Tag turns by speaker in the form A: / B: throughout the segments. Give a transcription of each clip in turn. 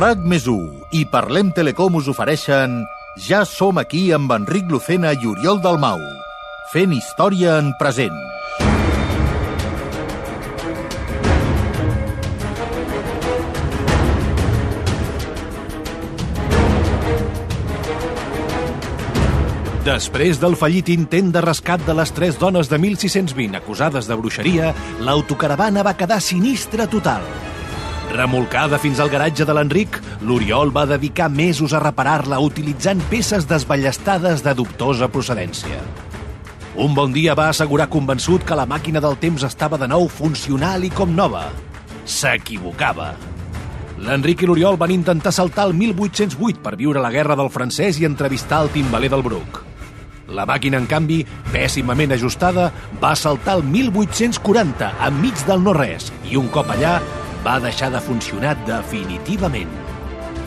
A: RAC més 1 i Parlem Telecom us ofereixen Ja som aquí amb Enric Lucena i Oriol Dalmau, fent història en present.
B: Després del fallit intent de rescat de les tres dones de 1620 acusades de bruixeria, l'autocaravana va quedar sinistra total. Remolcada fins al garatge de l'Enric, l'Oriol va dedicar mesos a reparar-la utilitzant peces desballestades de dubtosa procedència. Un bon dia va assegurar convençut que la màquina del temps estava de nou funcional i com nova. S'equivocava. L'Enric i l'Oriol van intentar saltar el 1808 per viure la guerra del francès i entrevistar el timbaler del Bruc. La màquina, en canvi, pèssimament ajustada, va saltar el 1840, enmig del no-res, i un cop allà va deixar de funcionar definitivament.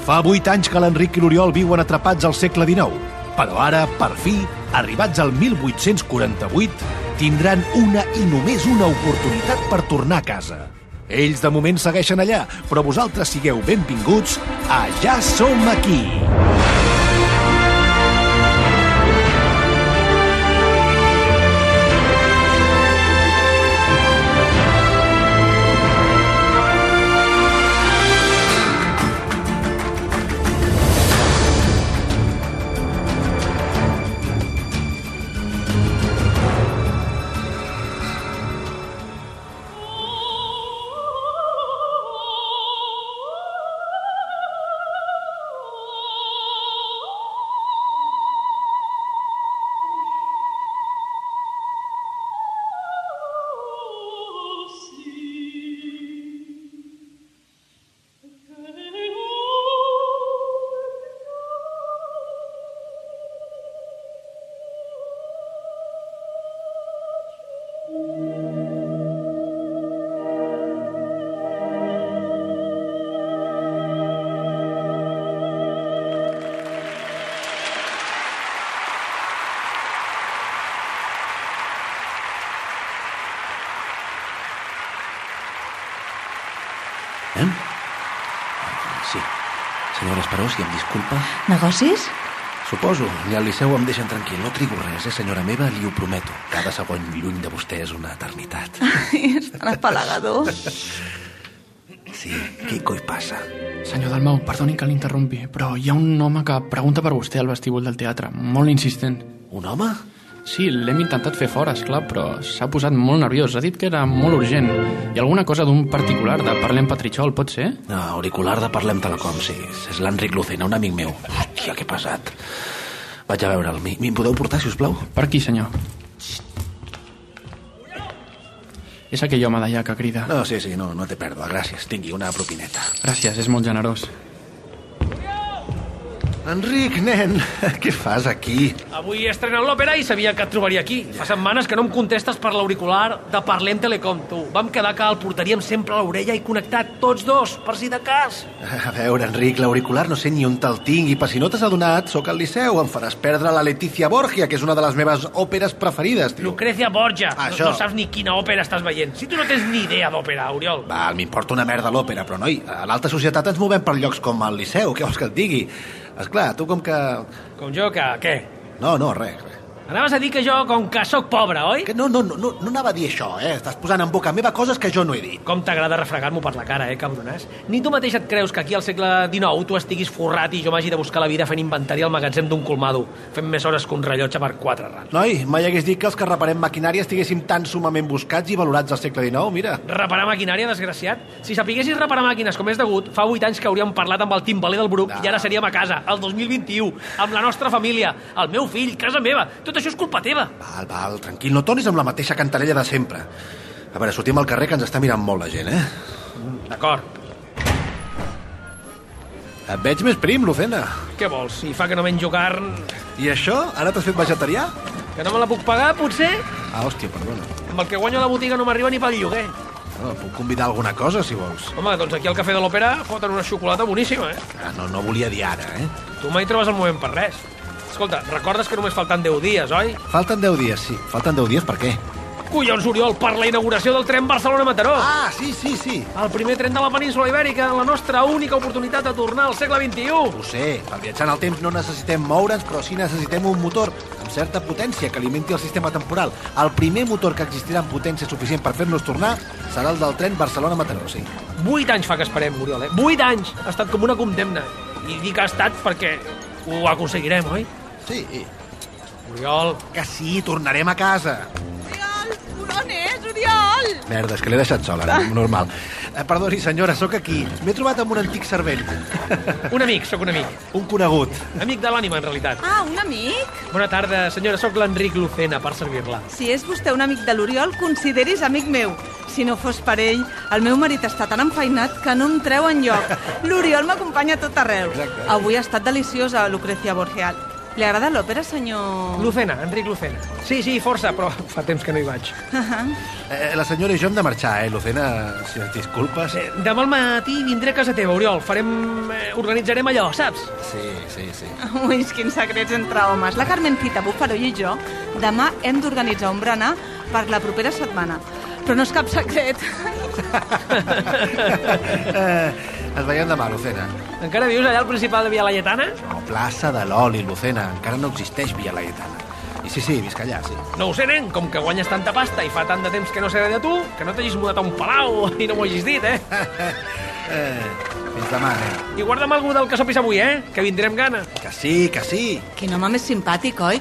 B: Fa vuit anys que l'Enric i l'Oriol viuen atrapats al segle XIX, però ara, per fi, arribats al 1848, tindran una i només una oportunitat per tornar a casa. Ells de moment segueixen allà, però vosaltres sigueu benvinguts a Ja som aquí!
C: Eh? Sí. Senyora Esperós, i em disculpa.
D: Negocis?
C: Suposo, ni al Liceu em deixen tranquil. No trigo res, eh, senyora meva, li ho prometo. Cada segon lluny de vostè és una eternitat.
D: És tan apalagador.
C: Sí, què coi passa?
E: Senyor Dalmau, perdoni que l'interrompi, però hi ha un home que pregunta per vostè al vestíbul del teatre, molt insistent.
C: Un home?
E: Sí, l'hem intentat fer fora, esclar, però s'ha posat molt nerviós. Ha dit que era molt urgent. Hi ha alguna cosa d'un particular de Parlem Patritxol, pot ser?
C: No, auricular de Parlem Telecom, sí. És l'Enric Lucena, un amic meu. Hòstia, que pesat. Vaig a veure'l. Mi- Me'n podeu portar, si us plau?
E: Per aquí, senyor. És aquell home d'allà que crida.
C: No, sí, sí, no, no té pèrdua. Gràcies. Tingui una propineta.
E: Gràcies, és molt generós.
C: Enric, nen, què fas aquí?
F: Avui estrenen l'òpera i sabia que et trobaria aquí. Fa setmanes que no em contestes per l'auricular de Parlem Telecom, tu. Vam quedar que el portaríem sempre a l'orella i connectat tots dos, per si de cas.
C: A veure, Enric, l'auricular no sé ni on te'l tinc i per si no t'has adonat, sóc al Liceu, em faràs perdre la Letícia Borgia, que és una de les meves òperes preferides, tio.
F: Lucrecia Borja.
C: Això.
F: No, no saps ni quina òpera estàs veient. Si tu no tens ni idea d'òpera, Oriol.
C: Val, m'importa una merda l'òpera, però, noi, a l'alta societat ens movem per llocs com el Liceu, què vols que et digui? Esclar, tu com que...
F: Com jo, que què?
C: No, no, res, res.
F: Anaves a dir que jo, com que sóc pobre, oi?
C: Que no, no, no, no, no anava a dir això, eh? Estàs posant en boca meva coses que jo no he dit.
F: Com t'agrada refregar-m'ho per la cara, eh, cabronàs? Ni tu mateix et creus que aquí al segle XIX tu estiguis forrat i jo m'hagi de buscar la vida fent inventari al magatzem d'un colmado, fent més hores que un rellotge per quatre ral.
C: Noi, mai hagués dit que els que reparem maquinària estiguéssim tan sumament buscats i valorats al segle XIX, mira.
F: Reparar maquinària, desgraciat? Si sapiguessis reparar màquines com és degut, fa 8 anys que hauríem parlat amb el timbaler del Bruc
C: No.
F: i ara seríem a casa, el 2021, amb la nostra família, el meu fill, casa meva. Tot això és culpa teva.
C: Val, val, tranquil, no tornis amb la mateixa cantarella de sempre. A veure, sortim al carrer que ens està mirant molt la gent, eh?
F: D'acord.
C: Et veig més prim, Lucena.
F: Què vols? Si fa que no menjo carn...
C: I això? Ara t'has fet vegetarià?
F: Que no me la puc pagar, potser?
C: Ah, hòstia, perdona.
F: Amb el que guanyo a la botiga no m'arriba ni pel lloguer.
C: No, puc convidar alguna cosa, si vols.
F: Home, doncs aquí al Cafè de l'Òpera foten una xocolata boníssima, eh?
C: Ah, no, no volia dir ara, eh?
F: Tu mai trobes el moment per res. Escolta, recordes que només falten 10 dies, oi?
C: Falten 10 dies, sí. Falten 10 dies per què?
F: Collons, Oriol, per la inauguració del tren Barcelona-Mataró.
C: Ah, sí, sí, sí.
F: El primer tren de la península Ibèrica, la nostra única oportunitat de tornar al segle XXI.
C: Ho sé, per viatjar en el temps no necessitem moure'ns, però sí necessitem un motor amb certa potència que alimenti el sistema temporal. El primer motor que existirà amb potència suficient per fer-nos tornar serà el del tren Barcelona-Mataró, sí.
F: Vuit anys fa que esperem, Oriol, eh? Vuit anys! Ha estat com una condemna. I dic ha estat perquè ho aconseguirem, oi?
C: Sí, i
F: Oriol,
C: que sí, tornarem a casa.
G: Oriol, on és, Oriol?
C: Merda, és que l'he deixat sola, no? normal. Eh, perdoni, senyora, sóc aquí. M'he trobat amb un antic servent,
F: un amic, sóc un amic.
C: un conegut.
F: Amic de l'ànima, en realitat.
G: Ah, un amic?
F: Bona tarda, senyora, sóc l'Enric Lucena, per servir-la.
G: Si és vostè un amic de l'Oriol, consideris amic meu. Si no fos per ell, el meu marit està tan enfeinat que no em treu en lloc. L'Oriol m'acompanya a tot arreu.
C: Exacte.
G: Avui ha estat deliciosa Lucrecia Borgeal. Li agrada l'òpera, senyor...
F: Lucena, Enric Lucena. Sí, sí, força, però fa temps que no hi vaig.
C: Eh, la senyora i jo hem de marxar, eh, Lucena, si ens disculpes.
F: Eh, Demà al matí vindré a casa teva, Oriol. Farem... eh, organitzarem allò, saps?
C: Sí, sí, sí.
G: Ui, quins secrets entre homes. La Carmencita Bufaró i jo demà hem d'organitzar un berenar per la propera setmana. Però no és cap secret.
C: eh, ens veiem demà, Lucena.
F: Encara vius allà al principal de Via Laietana?
C: No, plaça de l'Oli, Lucena. Encara no existeix Via Laietana. I sí, sí, visc allà, sí.
F: No ho sé, nen, com que guanyes tanta pasta i fa tant de temps que no sé de tu, que no t'hagis mudat a un palau i no m'ho hagis dit, eh?
C: Eh, fins demà, nen.
F: I guarda'm algú del que sopis avui, eh? Que vindrem gana.
C: Que sí, que sí.
G: Quin home més simpàtic, oi?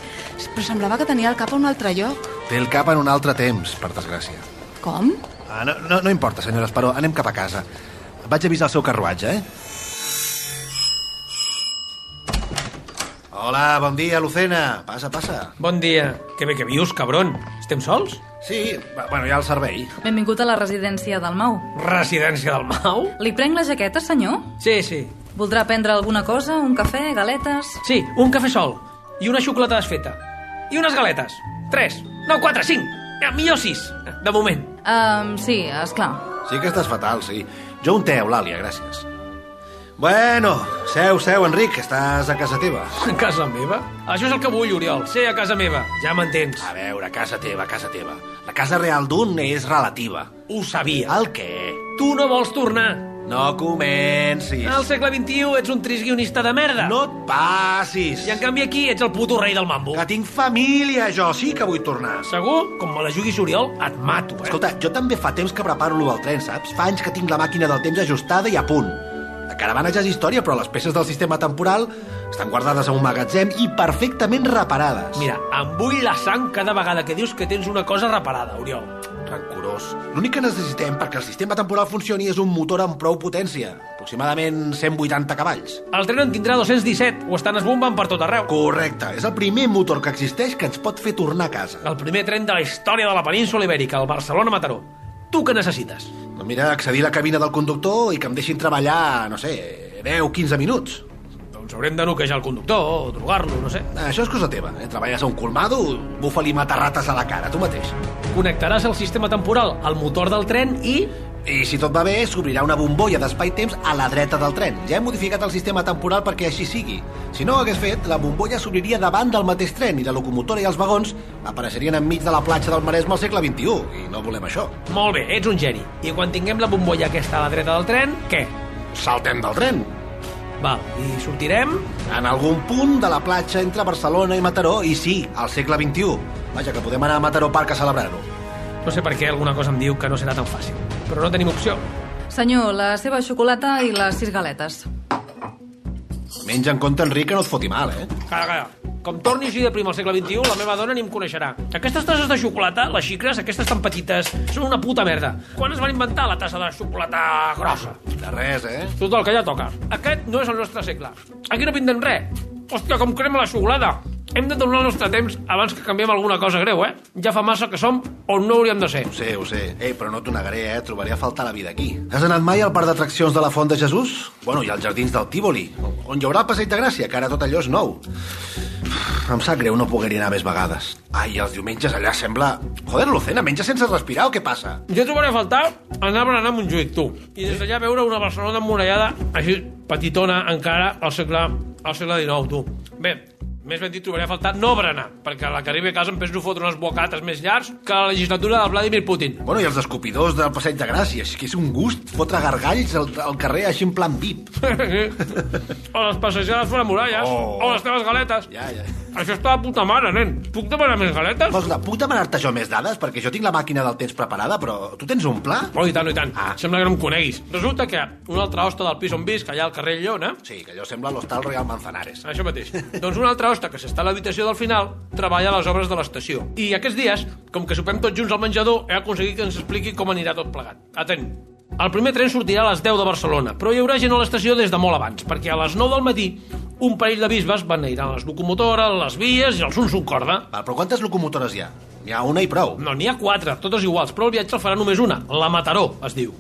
G: Però semblava que tenia el cap a un altre lloc.
C: Té el cap en un altre temps, per desgràcia.
G: Com?
C: Ah, no, no, no importa, senyores, però anem cap a casa. Vaig avisar el seu carruatge, eh? Hola, bon dia, Lucena. Passa, passa.
F: Bon dia. Que bé que vius, cabron. Estem sols?
C: Sí, b- bueno, ja el servei.
H: Benvingut a la residència del Mau.
F: Residència del Mau?
H: Li prenc la jaqueta, senyor?
F: Sí, sí.
H: Voldrà prendre alguna cosa? Un cafè? Galetes?
F: Sí, un cafè sol i una xocolata desfeta. I unes galetes. Tres. No, quatre, cinc. Eh, Millor sis, de moment.
H: Um, sí, és clar.
C: Sí que estàs fatal, sí. Jo un te, Eulàlia, gràcies. Bueno, seu, seu, Enric, que estàs a casa teva.
F: A casa meva? Això és el que vull, Oriol. Ser a casa meva. Ja m'entens.
C: A veure, casa teva, casa teva. La casa real d'un és relativa.
F: Ho sabia.
C: El què?
F: Tu no vols tornar.
C: No comencis.
F: Al segle XXI ets un trist guionista de merda.
C: No et passis.
F: I en canvi aquí ets el puto rei del mambo.
C: Que tinc família, jo. Sí que vull tornar.
F: Segur, com me la juguis, Oriol, et mato, eh?
C: Escolta, jo també fa temps que preparo lo del tren, saps? Fa anys que tinc la màquina del temps ajustada i a punt. La caravana ja és història, però les peces del sistema temporal estan guardades en un magatzem i perfectament reparades.
F: Mira, em vull la sang cada vegada que dius que tens una cosa reparada, Oriol.
C: Rancorós. L'únic que necessitem perquè el sistema temporal funcioni és un motor amb prou potència, aproximadament 180 cavalls.
F: El tren en tindrà 217, ho estan esbombant per tot arreu.
C: Correcte, és el primer motor que existeix que ens pot fer tornar a casa.
F: El primer tren de la història de la península ibèrica, el Barcelona-Mataró. Tu què necessites?
C: No, Doncs mira, accedir a la cabina del conductor i que em deixin treballar, no sé, 10-15 minuts.
F: Doncs haurem de noquejar el conductor o drogar-lo, no sé.
C: Això és cosa teva, eh? Treballes a un colmado, bufa-li matarrates a la cara, tu mateix.
F: Connectaràs el sistema temporal al motor del tren i...
C: I si tot va bé, s'obrirà una bombolla d'espai-temps a la dreta del tren. Ja he modificat el sistema temporal perquè així sigui. Si no ho hagués fet, la bombolla s'obriria davant del mateix tren i la locomotora i els vagons apareixerien enmig de la platja del Maresme al segle XXI. I no volem això.
F: Molt bé, ets un geni. I quan tinguem la bombolla aquesta a la dreta del tren, què?
C: Saltem del tren.
F: Val, i sortirem...
C: En algun punt de la platja entre Barcelona i Mataró, i sí, al segle XXI. Vaja, que podem anar a Mataró Park a celebrar-ho.
F: No sé per què alguna cosa em diu que no serà tan fàcil. Però no tenim opció.
H: Senyor, la seva xocolata i les sis galetes.
C: Menja en compte, Enric, que no et foti mal, eh?
F: Calla, calla. Com torni així de prim al segle XXI, la meva dona ni em coneixerà. Aquestes tasses de xocolata, les xicres, aquestes tan petites, són una puta merda. Quan es van inventar la tassa de xocolata grossa?
C: De res, eh?
F: Total, que ja toca. Aquest no és el nostre segle. Aquí no pintem res. Hòstia, com crema la xocolada. Hem de tornar al nostre temps abans que canviem alguna cosa greu, eh? Ja fa massa que som on no hauríem de ser.
C: Ho sé, ho sé. Ei, però no t'ho negaré, eh? Trobaré a faltar la vida aquí. Has anat mai al parc d'atraccions de la Font de Jesús? Bueno, i als jardins del Tívoli, on hi haurà el Passeig de Gràcia, que ara tot allò és nou. Em sap greu no poder anar més vegades. Ai, els diumenges allà sembla... Joder, Lucena, menja sense respirar o què passa?
F: Jo trobaré a faltar anar a berenar a Montjuïc, tu. I des d'allà veure una Barcelona emmurallada, així, petitona encara, al segle, al segle XIX, tu. Bé, Més ben dit, trobaré a faltar no berenar, perquè a la que arribi a casa em penso fotre unes bocates més llargs que la legislatura de Vladimir Putin.
C: Bueno, i els escopidors del passeig de Gràcia. És que és un gust fotre gargalls al, al carrer així en plan VIP.
F: o les passejades fora muralles,
C: Oh.
F: o les teves galetes.
C: Ja, ja.
F: Això està de puta mare, nen. Puc demanar més galetes?
C: Vols, anar- puc demanar-te jo més dades? Perquè jo tinc la màquina del temps preparada, però tu tens un pla?
F: Oh, i tant, oh, i tant.
C: Ah.
F: Sembla que no em coneguis. Resulta que una altra hosta del pis on visc, allà al carrer Llona,
C: Sí, que allò sembla l'hostal Real Manzanares.
F: Això mateix. doncs una altra hosta que s'està a l'habitació del final treballa a les obres de l'estació. I aquests dies, com que sopem tots junts al menjador, he aconseguit que ens expliqui com anirà tot plegat. Atent. El primer tren sortirà a les 10 de Barcelona, però hi haurà gent a l'estació des de molt abans, perquè a les 9 del matí un parell de bisbes van aniran les locomotores, les vies i els uns un corda.
C: Val, però quantes locomotores hi ha? N'hi ha una i prou.
F: No, n'hi ha quatre, totes iguals, però el viatge el farà només una, la Mataró, es diu.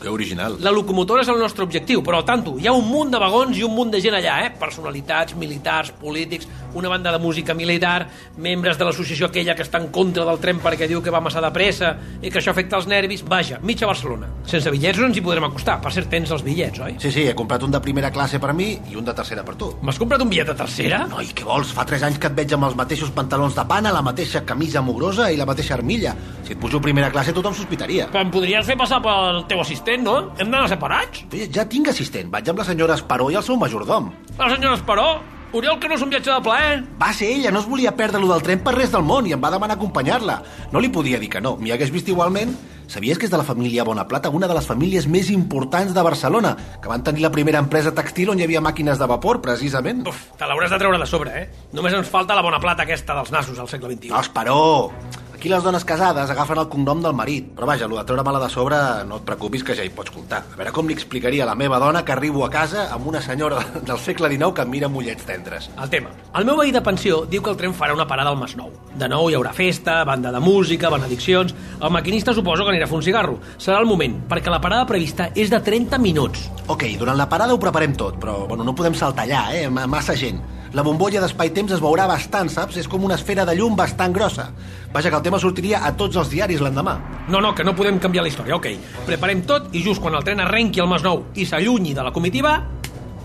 C: Que original.
F: La locomotora és el nostre objectiu, però al tanto, hi ha un munt de vagons i un munt de gent allà, eh? Personalitats, militars, polítics, una banda de música militar, membres de l'associació aquella que està en contra del tren perquè diu que va massa de pressa i que això afecta els nervis. Vaja, mitja Barcelona. Sense bitllets no ens hi podrem acostar. Per cert, tens els bitllets, oi?
C: Sí, sí, he comprat un de primera classe per mi i un de tercera per tu.
F: M'has comprat un bitllet de tercera?
C: Noi, què vols? Fa 3 anys que et veig amb els mateixos pantalons de pana, la mateixa camisa mugrosa i la mateixa armilla. Si et pujo primera classe tothom sospitaria.
F: Però em podries fer passar pel teu assistent, no? Hem d'anar separats?
C: Però Ja tinc assistent, vaig amb la senyora Esperó i el seu majordom.
F: La senyora Esperó? Oriol, que no és un viatge de plaer?
C: Va ser ella, no es volia perdre lo del tren per res del món i em va demanar acompanyar-la. No li podia dir que no, m'hi hagués vist igualment. Sabies que és de la família Bonaplata, una de les famílies més importants de Barcelona, que van tenir la primera empresa textil on hi havia màquines de vapor, precisament.
F: Uf, te l'hauràs de treure de sobre, eh? Només ens falta la bona plata aquesta dels nassos al segle XXI.
C: No, Esperó! Aquí les dones casades agafen el cognom del marit. Però vaja, lo de treure-me-la de sobre, no et preocupis que ja hi pots comptar. A veure com li explicaria a la meva dona que arribo a casa amb una senyora del segle XIX que em mira amb ullets tendres.
F: El tema. El meu veí de pensió diu que el tren farà una parada al Masnou. De nou hi haurà festa, banda de música, benediccions... El maquinista suposo que anirà a fer un cigarro. Serà el moment, perquè la parada prevista és de 30 minuts.
C: Ok, durant la parada ho preparem tot, però bueno, no podem saltar allà, eh? Ma- Massa gent. La bombolla d'espai-temps es veurà bastant, saps? És com una esfera de llum bastant grossa. Vaja, que el tema sortiria a tots els diaris l'endemà.
F: No, no, que no podem canviar la història, ok. Preparem tot i just quan el tren arrenqui al Masnou i s'allunyi de la comitiva,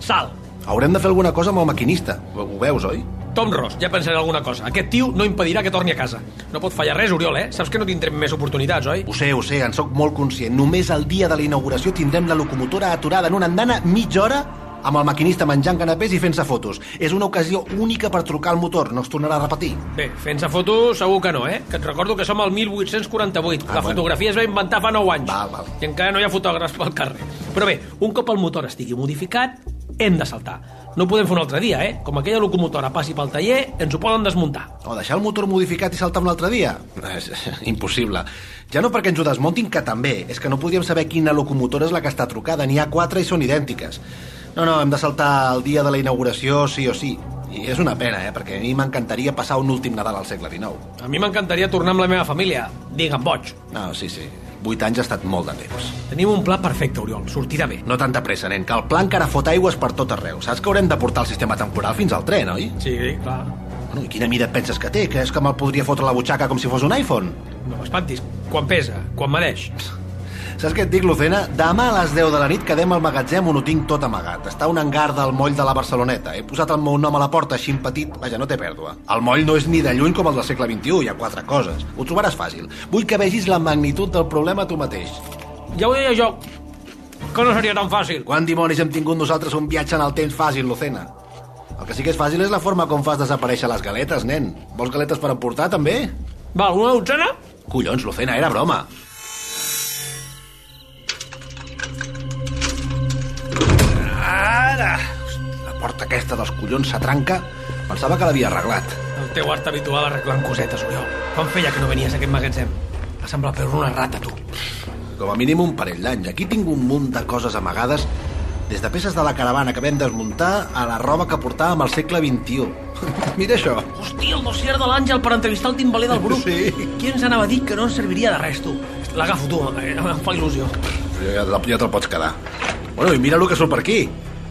F: salt.
C: Haurem de fer alguna cosa amb el maquinista. Ho, ho veus, oi?
F: Tom Ross, ja pensaré alguna cosa. Aquest tio no impedirà que torni a casa. No pot fallar res, Oriol, eh? Saps que no tindrem més oportunitats, oi?
C: Ho sé, ho sé, en sóc molt conscient. Només el dia de la inauguració tindrem la locomotora aturada en una andana mitja hora amb el maquinista menjant canapés i fent-se fotos. És una ocasió única per trucar el motor, no es tornarà a repetir.
F: Bé, fent-se foto segur que no, eh? Que et recordo que som al 1848.
C: Ah,
F: la
C: bueno.
F: fotografia es va inventar fa 9 anys.
C: Val, val.
F: I encara no hi ha fotògrafs pel carrer. Però bé, un cop el motor estigui modificat, hem de saltar. No podem fer un altre dia, eh? Com aquella locomotora passi pel taller, ens ho poden desmuntar.
C: O deixar el motor modificat i saltar un altre dia? És impossible. Ja no perquè ens ho desmontin, que també. És que no podíem saber quina locomotora és la que està trucada. N'hi ha quatre i són idèntiques. No, no, hem de saltar el dia de la inauguració sí o sí. I és una pena, eh? Perquè a mi m'encantaria passar un últim Nadal al segle XIX.
F: A mi m'encantaria tornar amb la meva família. Digue'm boig.
C: No, sí, sí. Vuit anys ha estat molt de temps.
F: Tenim un pla perfecte, Oriol. Sortirà bé.
C: No tanta pressa, nen, que el pla encara fot aigües per tot arreu. Saps que haurem de portar el sistema temporal fins al tren, oi?
F: Sí, clar.
C: Bueno, I quina mida et penses que té? Que és que me'l podria fotre a la butxaca com si fos un iPhone?
F: No m'espantis. Quan pesa, quan mereix.
C: Saps què et dic, Lucena? Demà a les 10 de la nit quedem al magatzem on ho tinc tot amagat. Està un hangar del moll de la Barceloneta. He posat el meu nom a la porta així en petit, vaja, no té pèrdua. El moll no és ni de lluny com el del segle XXI, hi ha quatre coses. Ho trobaràs fàcil. Vull que vegis la magnitud del problema tu mateix.
F: Ja ho deia jo, que no seria tan fàcil.
C: Quan dimonis hem tingut nosaltres un viatge en el temps fàcil, Lucena? El que sí que és fàcil és la forma com fas desaparèixer les galetes, nen. Vols galetes per emportar, també?
F: Val, una dotzena?
C: Collons, Lucena, era broma. Ara! La porta aquesta dels collons s'atranca. Pensava que l'havia arreglat.
F: El teu art habitual arreglant cosetes, Oriol. Quan feia que no venies a aquest magatzem? Ha semblat per una rata, tu.
C: Com a mínim un parell d'anys. Aquí tinc un munt de coses amagades, des de peces de la caravana que vam desmuntar a la roba que portàvem al segle XXI. Mira això.
F: Hòstia, el dossier de l'Àngel per entrevistar el timbaler del grup.
C: Sí.
F: Qui ens anava a dir que no ens serviria de res, tu? L'agafo, tu, eh, em fa il·lusió.
C: Ja, ja te'l pots quedar. Bueno, i mira el que surt per aquí.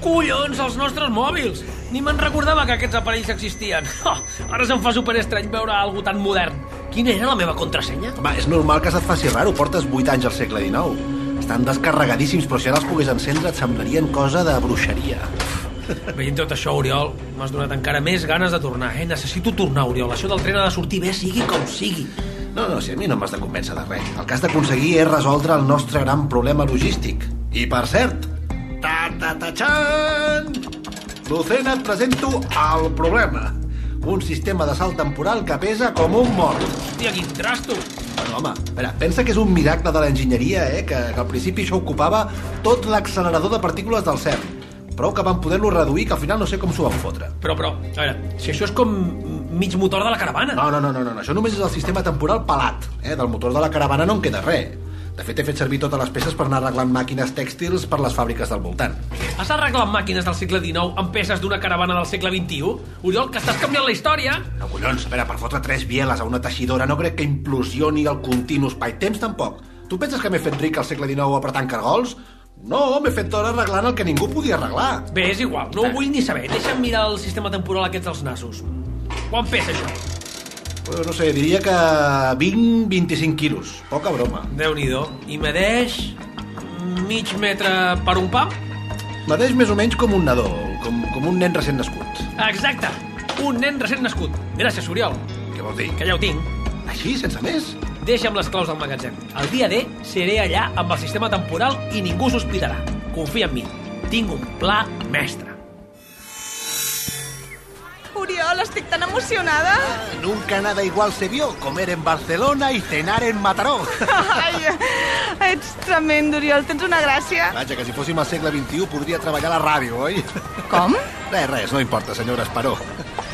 F: Collons, els nostres mòbils! Ni me'n recordava que aquests aparells existien. Oh, ara se'm fa superestrany veure algo tan modern. Quina era la meva contrasenya?
C: Home, és normal que se't faci raro, portes 8 anys al segle XIX. Estan descarregadíssims, però si ara els pogués encendre et semblarien cosa de bruixeria.
F: Veient tot això, Oriol, m'has donat encara més ganes de tornar, eh? Necessito tornar, Oriol. Això del tren ha de sortir bé, sigui com sigui.
C: No, no, si a mi no m'has de convèncer de res. El que has d'aconseguir és resoldre el nostre gran problema logístic. I, per cert, ta-ta-ta-xan! Lucena, et presento el problema. Un sistema de salt temporal que pesa com un mort.
F: Hòstia, quin trasto!
C: Bueno, home, a veure, pensa que és un miracle de l'enginyeria, eh? Que, que al principi això ocupava tot l'accelerador de partícules del CERN. Prou que van poder-lo reduir, que al final no sé com s'ho van fotre.
F: Però, però, a veure, si això és com mig motor de la caravana.
C: No, no, no, no, no, no, això només és el sistema temporal pelat. Eh? Del motor de la caravana no en queda res. De fet, he fet servir totes les peces per anar arreglant màquines tèxtils per les fàbriques del voltant.
F: Has arreglat màquines del segle XIX amb peces d'una caravana del segle XXI? Oriol, que estàs canviant la història?
C: No, collons, a veure, per fotre tres bieles a una teixidora no crec que implosioni el continu espai-temps tampoc. Tu penses que m'he fet ric al segle XIX apretant cargols? No, m'he fet d'hora arreglant el que ningú podia arreglar.
F: Bé, és igual, no ho vull ni saber. Deixa'm mirar el sistema temporal aquest dels nassos. Quan pesa això?
C: Però no sé, diria que 20-25 quilos. Poca broma.
F: Déu-n'hi-do. I medeix mig metre per un pam?
C: Mateix més o menys com un nadó, com, com un nen recent nascut.
F: Exacte! Un nen recent nascut. Gràcies, Oriol,
C: Què vols dir?
F: que ja ho tinc.
C: Així, sense més?
F: Deixa'm les claus del magatzem. El dia D seré allà amb el sistema temporal i ningú sospitarà. Confia en mi. Tinc un pla mestre.
G: Oriol, estic tan emocionada.
C: Nunca nada igual se vio comer en Barcelona y cenar en Mataró.
G: Ai, ets tremendo, Oriol. Tens una gràcia.
C: Vaja, que si fóssim al segle XXI podria treballar a la ràdio, oi?
G: Com?
C: Res, res, no importa, senyora Esperó.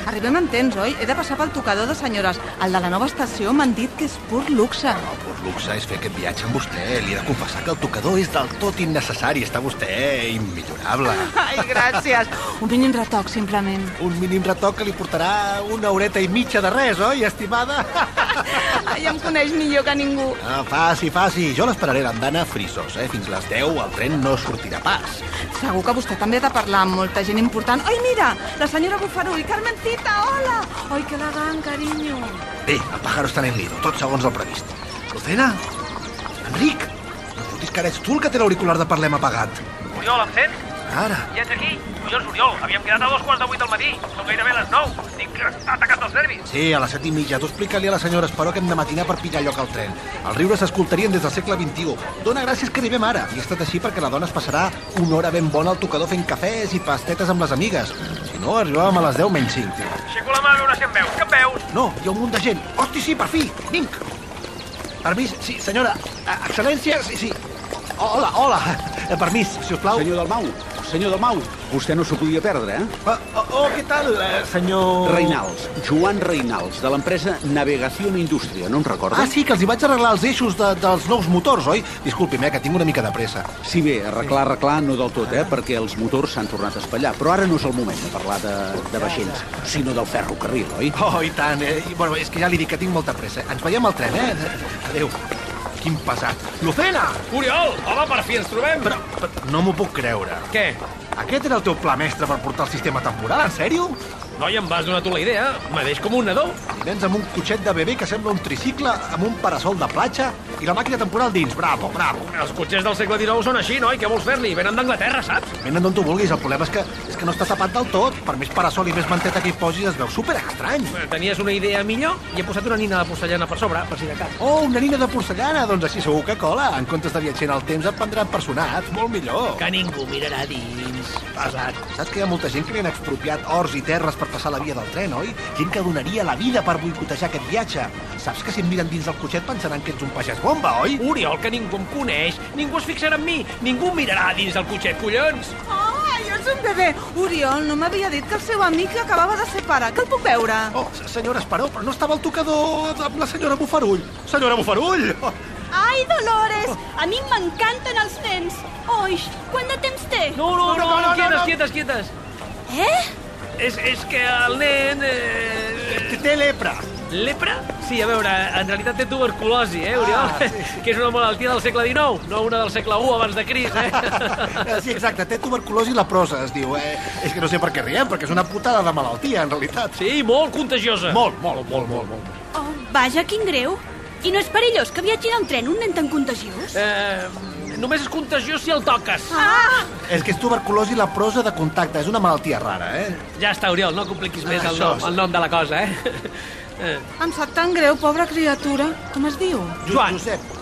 G: Arribem en temps, oi? He de passar pel tocador de senyores. El de la nova estació m'han dit que és pur luxe.
C: No, pues luxe és fer aquest viatge amb vostè. Li he de confessar que el tocador és del tot innecessari. Està vostè immillorable.
G: Ai, gràcies. Un mínim retoc, simplement.
C: Un mínim retoc que li portarà una horeta i mitja de res, oi, estimada?
G: Ai, em coneix millor que ningú.
C: Ah, faci, faci. Jo l'esperaré a l'andana frisos, eh? Fins les 10 el tren no sortirà pas.
G: Segur que vostè també ha de parlar amb molta gent important. Oi, mira, la senyora Bufarull, Carmencita, hola! Oi, que elegant, carinyo.
C: Bé, el pájaro està en nido, tot segons el previst. Lucena? Enric? No fotis que ara ets tu el que té l'auricular de Parlem apagat.
F: Oriol, em sents?
C: Ara.
F: Ja ets aquí? Collons, Oriol, havíem quedat a dos quarts de vuit del matí. Són gairebé les nou. Estic atacat dels nervis.
C: Sí, a les set i mitja. Tu explica-li a la senyora Esperó que hem de matinar per pillar lloc al tren. Els riures s'escoltarien des del segle XXI. Dona gràcies que arribem ara. I ha estat així perquè la dona es passarà una hora ben bona al tocador fent cafès i pastetes amb les amigues. Si no, arribàvem a les 10 menys 5, tio.
F: Aixeco la mà a veure si em veus. Que em veus?
C: No, hi ha un munt de gent. Hosti, sí, per fi! Vinc! Permís, sí, senyora. Eh, Excel·lència, sí, sí. Hola, hola. Eh, Permís, si us plau.
I: Senyor Dalmau, senyor Dalmau, vostè no s'ho podia perdre, eh?
C: Ah, Oh, oh, què tal, eh, senyor...
I: Reinals, Joan Reinals, de l'empresa Navegación Industria, no em recorda?
C: Ah, sí, que els hi vaig arreglar els eixos de, dels nous motors, oi? Disculpi'm, eh, que tinc una mica de pressa.
I: Sí, bé, arreglar, arreglar, no del tot, eh? Perquè els motors s'han tornat a espatllar. Però ara no és el moment de parlar de, de vaixells, sinó del ferrocarril, oi?
C: Oh, i tant, eh? I, Bueno, és que ja li dic que tinc molta pressa. Ens veiem al tren, eh? Adéu. Quin pesat. Lucena!
F: Oriol, home, per fi ens trobem.
C: Però, però no m'ho puc creure.
F: Què?
C: Aquest era el teu pla mestre per portar el sistema temporal, en sèrio?
F: Noi, em vas donar tu la idea. Medeix com un nadó.
C: I Nens amb un cotxet de bebè que sembla un tricicle, amb un parasol de platja i la màquina temporal dins. Bravo, bravo.
F: Els cotxers del segle XIX són així, noi. Què vols fer-li? Venen d'Anglaterra, saps?
C: Venen d'on tu vulguis, el problema és que, és que no està tapat del tot. Per més parasol i més manteta que hi posis, es veu super estrany.
F: Eh, Tenies una idea millor i he posat una nina de porcellana per sobre, per si de cas.
C: Oh, una nina de porcellana! Doncs així segur que cola. En comptes de viatger en el temps et prendran personat. Molt millor.
F: Que ningú mirarà dins.
C: Pesat. Saps que hi ha molta gent que li han expropiat horts i terres per passar la via del tren, oi? Gent que donaria la vida per boicotejar aquest viatge. Saps que si et miren dins del cotxet pensaran que ets un pagès bomba, oi?
F: Oriol, que ningú em coneix, ningú es fixarà en mi, ningú em mirarà dins del cotxet, collons!
G: Ai, ets un bebè. Oriol, no m'havia dit que el seu amic acabava de ser pare. Que el puc veure?
C: Oh, se- senyora Esperó, però no estava al tocador amb la senyora Bufarull. Senyora Bufarull! Oh,
J: Ai, Dolores, a mi m'encanten els nens. Oix, quant de temps té?
F: No, no, no, no, no, no, quietes,
C: no.
F: quietes, quietes.
J: Eh?
F: És, és que el nen... Eh...
C: que té lepra.
F: Lepra? Sí, a veure, en realitat té tuberculosi, eh, Oriol?
C: Ah, sí, sí.
F: Que és una malaltia del segle XIX, no una del segle I abans de Cris, eh?
C: Eh, Sí, exacte, té tuberculosi i leprosa, es diu. Eh? És que no sé per què riem, perquè és una putada de malaltia, en realitat.
F: Sí, molt contagiosa.
C: Molt, molt, molt, molt, molt.
J: Oh, vaja, quin greu. I no és perillós que viatgin en tren un nen tan contagiós?
F: Eh, Només és contagiós si el toques.
J: Ah!
C: És que és tuberculosi leprosa de contacte, és una malaltia rara, eh?
F: Ja està, Oriol, no compliquis més
C: Ah,
F: el
C: això
F: nom,
C: és-
F: el nom de la cosa, eh? Eh,
G: Em sap tan greu, pobra criatura. Com es diu?
F: Joan. Josep.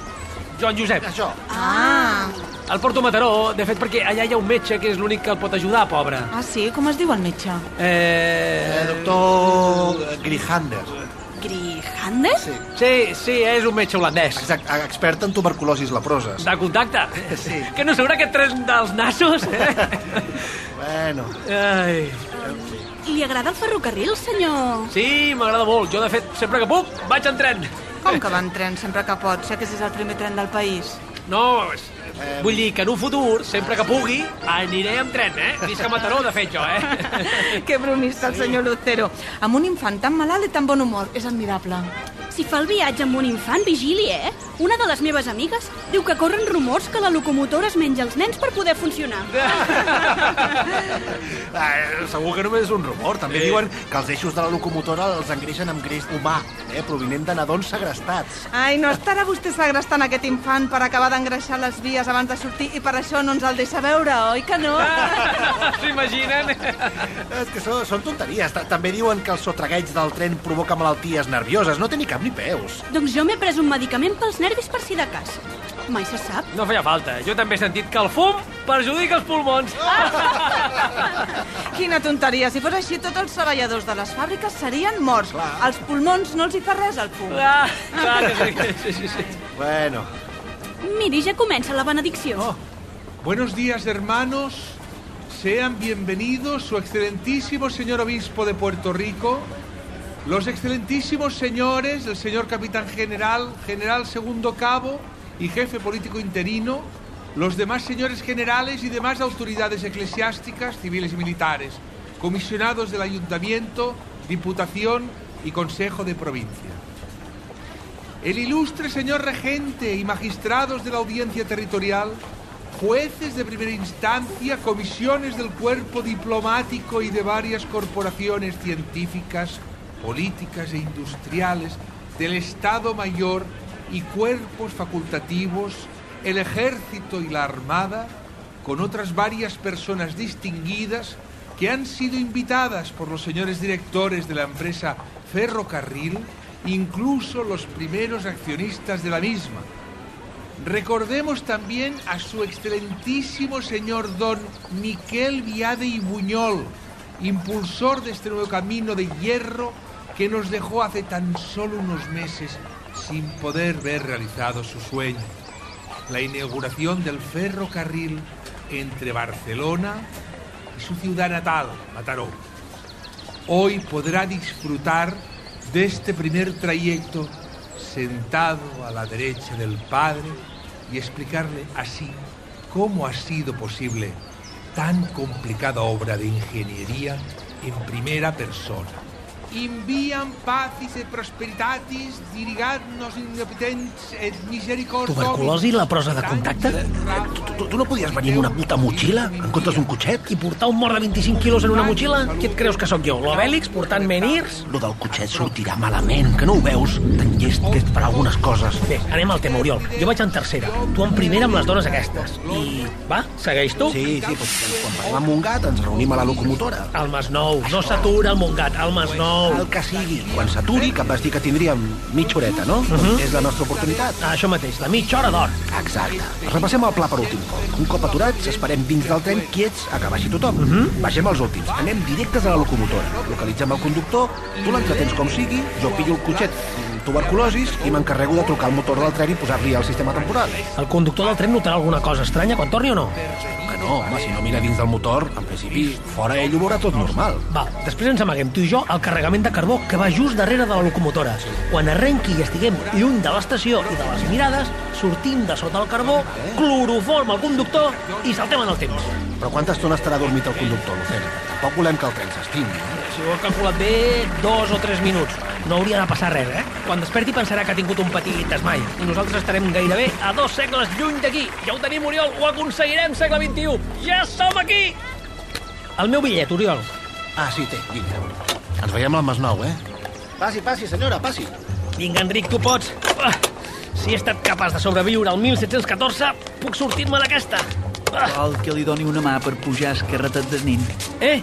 F: Joan Josep. Això.
G: Ah,
F: El porto a Mataró, de fet, perquè allà hi ha un metge que és l'únic que el pot ajudar, pobre.
G: ah sí? Com es diu el metge?
F: Eh...
C: Doctor Grihander.
G: Grihander?
C: Sí.
F: Sí, sí, és un metge holandès.
C: Exacte, expert en tuberculosis leproses.
F: De contacte? Sí. Que no s'haurà que tren dels nassos, eh?
C: Bueno.
F: Ai.
J: I li agrada el ferrocarril, senyor?
F: Sí, m'agrada molt. Jo, de fet, sempre que puc, vaig en tren.
G: Com que va en tren sempre que pot? Sé que és el primer tren del país.
F: No, és- vull dir que en un futur, sempre que pugui, aniré amb tren, eh? Visca Mataró, de fet, jo, eh?
G: que bromista el senyor Lucero. Amb un infant tan malalt i tan bon humor. És admirable.
J: Si fa el viatge amb un infant, vigili, eh? Una de les meves amigues diu que corren rumors que la locomotora es menja els nens per poder funcionar.
C: Ah, segur que només és un rumor. També
F: Sí.
C: diuen que els eixos de la locomotora els engreixen amb greix humà, eh, provinent de nadons segrestats.
G: Ai, no estarà vostè segrestant aquest infant per acabar d'engreixar les vies abans de sortir i per això no ens el deixa veure, oi que no?
F: S'imaginen?
C: És que són, són tonteries. Ta- També diuen que el sotragueig del tren provoca malalties nervioses. No té ni cap ni peus.
J: Doncs jo m'he pres un medicament pels nervis per si de cas. Mai se sap.
F: No feia falta. Jo també he sentit que el fum perjudica els pulmons.
G: Quina tonteria. Si fos així, tots els treballadors de les fàbriques serien morts. Clar. Els pulmons no els hi fa res, el fum.
F: Ah, clar que sí. sí, sí, sí.
C: Bueno.
J: Miri, ja comença la benedicció.
K: Buenos días, hermanos. Sean bienvenidos su excelentísimo señor obispo de Puerto Rico, los excelentísimos señores, el señor capitán general, general segundo cabo y jefe político interino, los demás señores generales y demás autoridades eclesiásticas, civiles y militares, comisionados del ayuntamiento, diputación y consejo de provincia. El ilustre señor regente y magistrados de la audiencia territorial, jueces de primera instancia, comisiones del cuerpo diplomático y de varias corporaciones científicas, políticas e industriales del Estado Mayor y cuerpos facultativos, el Ejército y la Armada, con otras varias personas distinguidas que han sido invitadas por los señores directores de la empresa Ferrocarril, incluso los primeros accionistas de la misma. Recordemos también a su excelentísimo señor don Miquel Viade y Buñol, impulsor de este nuevo camino de hierro que nos dejó hace tan solo unos meses sin poder ver realizado su sueño, la inauguración del ferrocarril entre Barcelona y su ciudad natal, Mataró. Hoy podrá disfrutar de este primer trayecto sentado a la derecha del Padre y explicarle así cómo ha sido posible tan complicada obra de ingeniería en primera persona. Enviam pacis et prosperitatis, dirigat-nos independents et misericordia...
L: Tuberculosi, leprosa de contacte?
K: Tu,
L: tu no podies venir amb una puta motxilla, en comptes d'un cotxet? I portar un mort de 25 quilos en una motxilla? Qui et creus que sóc jo? L'Obèlix portant menirs?
K: Lo del cotxet
L: sortirà malament, que no ho veus? Tan llest que ets per algunes coses. Bé, anem al tema, Oriol. Jo vaig en tercera, tu en primera amb les dones aquestes. I, va, segueix tu? Sí, sí, doncs quan
C: Anem a Montgat, ens reunim a la locomotora.
L: El Masnou, no s'atura el Montgat, el Masnou.
C: El que sigui, quan s'aturi, que em vas dir que tindríem mitja horeta, no?
L: Mhm.
C: És la nostra oportunitat.
L: Ah, Això mateix, la mitja hora d'or.
C: Exacte. Repassem el pla per últim cop. Un cop aturats, esperem dins del tren quiets a que baixi tothom. Baixem els últims, anem directes a la locomotora. Localitzem el conductor, tu l'entretens com sigui, jo pillo el cotxet amb tuberculosis i m'encarrego de trucar el motor del tren i posar-li el sistema temporal.
L: El conductor del tren notarà alguna cosa estranya quan torni o no?
C: Que no, home, si no mira dins del motor, en principi, fora ell ho veurà tot normal.
L: Val, després ens amaguem tu i jo al carregament de carbó que va just darrere de la locomotora. Quan arrenqui i estiguem lluny de l'estació i de les mirades, sortim de sota el carbó, cloroform el conductor i saltem en el temps.
C: Però quanta estona estarà dormit el conductor, Lucena? Tampoc volem que el tren s'estingui. eh?
L: Si ho has calculat bé, dos o tres minuts. No hauria de passar res, eh? Quan desperti pensarà que ha tingut un petit desmai. I nosaltres estarem gairebé a dos segles lluny d'aquí. Ja ho tenim, Oriol, ho aconseguirem, segle XXI. Ja som aquí! El meu bitllet, Oriol.
C: Ah, sí, té, vinga. Ens veiem al Masnou, eh? Passi, passi, senyora, passi.
L: Vinga, Enric, tu pots. Ah,
F: Si he estat capaç de sobreviure al 1714, puc sortir-me d'aquesta.
M: Cal que li doni una mà per pujar esquerreta de nin.
F: Eh?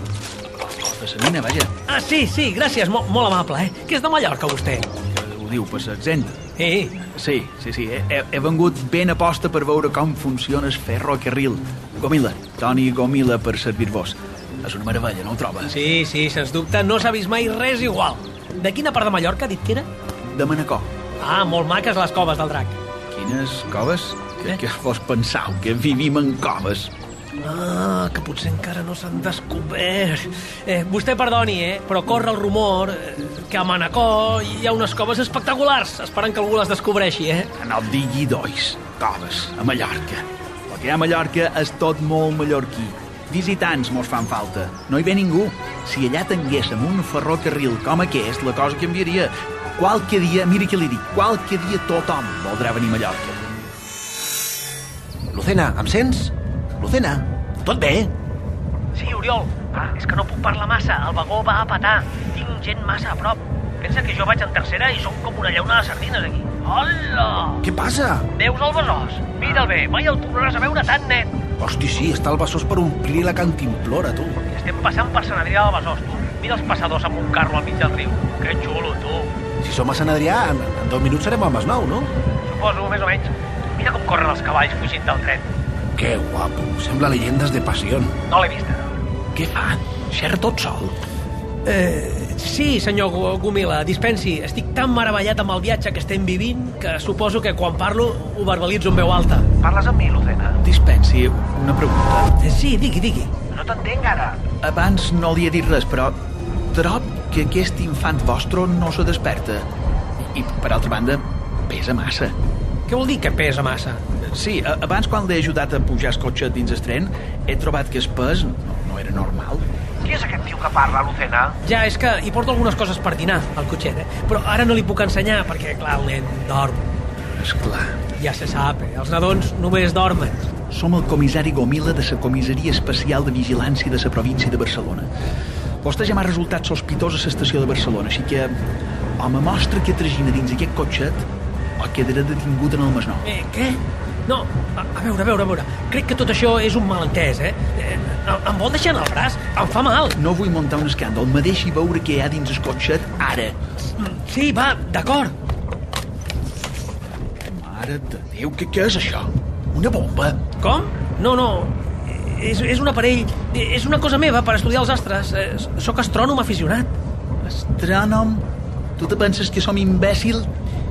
M: Passamina, vaja.
F: Ah, sí, sí, gràcies, mo molt amable, eh? Que és de Mallorca, vostè.
M: Ho diu, passa exempta.
F: Eh?
M: Sí, sí, sí. He, he- he vengut ben aposta per veure com funciona el ferrocarril. Gomila, Toni Gomila per servir-vos. És una meravella, no ho troba?
F: Sí, sí, sens dubte, no s'ha vist mai res igual. De quina part de Mallorca ha dit que era?
M: De Manacor.
F: Ah, molt maques les coves del drac.
M: Quines coves? Que, que vos pensau que vivim en coves?
F: Ah, que potser encara no s'han descobert. Eh, vostè perdoni, eh, però corre el rumor eh, que a Manacor hi ha unes coves espectaculars, esperant que algú les descobreixi, eh?
M: En el digui dois, coves, a Mallorca. El que hi ha a Mallorca és tot molt mallorquí. Visitants mos fan falta. No hi ve ningú. Si allà tinguéssim un ferrocarril com aquest, la cosa canviaria. Qualque dia, mira què li dic, qualque dia tothom voldrà venir a Mallorca.
C: Lucena, em sents? Lucena, tot bé?
F: Sí, Oriol, clar, és que no puc parlar massa. El vagó va a petar. Tinc gent massa a prop. Pensa que jo vaig en tercera i som com una llauna de sardines aquí. Hola!
C: Què passa?
F: Veus el besòs? Mira'l bé, mai el tornaràs a veure tan net.
C: Hosti, sí, està el Bessós per omplir la cantimplora, tu.
F: Estem passant per Sant Adrià del Besòs, tu. Mira els passadors amb un carro al mig del riu. Que xulo, tu.
C: Si som a Sant Adrià, en, en dos minuts serem al Masnou, no?
F: Suposo, més o menys. Mira com corren els cavalls fugint del tren.
C: Que guapo, sembla leyendes de passió.
F: No l'he vista.
M: Què fa? Xerra tot sol?
F: Eh, sí, senyor Gu- Gomila, dispensi. Estic tan meravellat amb el viatge que estem vivint que suposo que quan parlo ho verbalitzo en veu alta. Parles amb mi, Lucena?
M: Dispensi, una pregunta.
F: Sí, digui, digui.
M: No t'entenc ara. Abans no li he dit res, però trob que aquest infant vostre no se desperta. I, per altra banda, pesa massa.
F: Què vol dir que pesa massa?
M: Sí, a- abans quan l'he ajudat a pujar el cotxe dins el tren, he trobat que el pes no, no era normal.
F: Qui és aquest tio que parla, Lucena? Ja, és que hi porto algunes coses per dinar, al cotxet, eh? Però ara no li puc ensenyar, perquè, clar, el nen dorm.
M: És clar.
F: Ja se sap, eh? Els nadons només dormen.
M: Som el comissari Gomila de la Comissaria Especial de Vigilància de la província de Barcelona. Vostè ja m'ha resultat sospitós a l'estació de Barcelona, així que o me mostra que tragina dins aquest cotxet o quedarà detingut en el Masnou.
F: Eh, què? No, a, a veure, a veure, a veure. Crec que tot això és un malentès, eh? eh em- em vol deixar en el braç? Em fa mal.
M: No vull muntar un escàndol. Me deixi veure què hi ha dins el cotxet ara.
F: Sí, va, d'acord.
M: Mare de Déu, què, què és això? Una bomba?
F: Com? No, no. Eh, És, és un aparell. Eh, És una cosa meva per estudiar els astres. Eh, s- Sóc astrònom aficionat.
M: Astrònom? Tu te penses que som imbècil?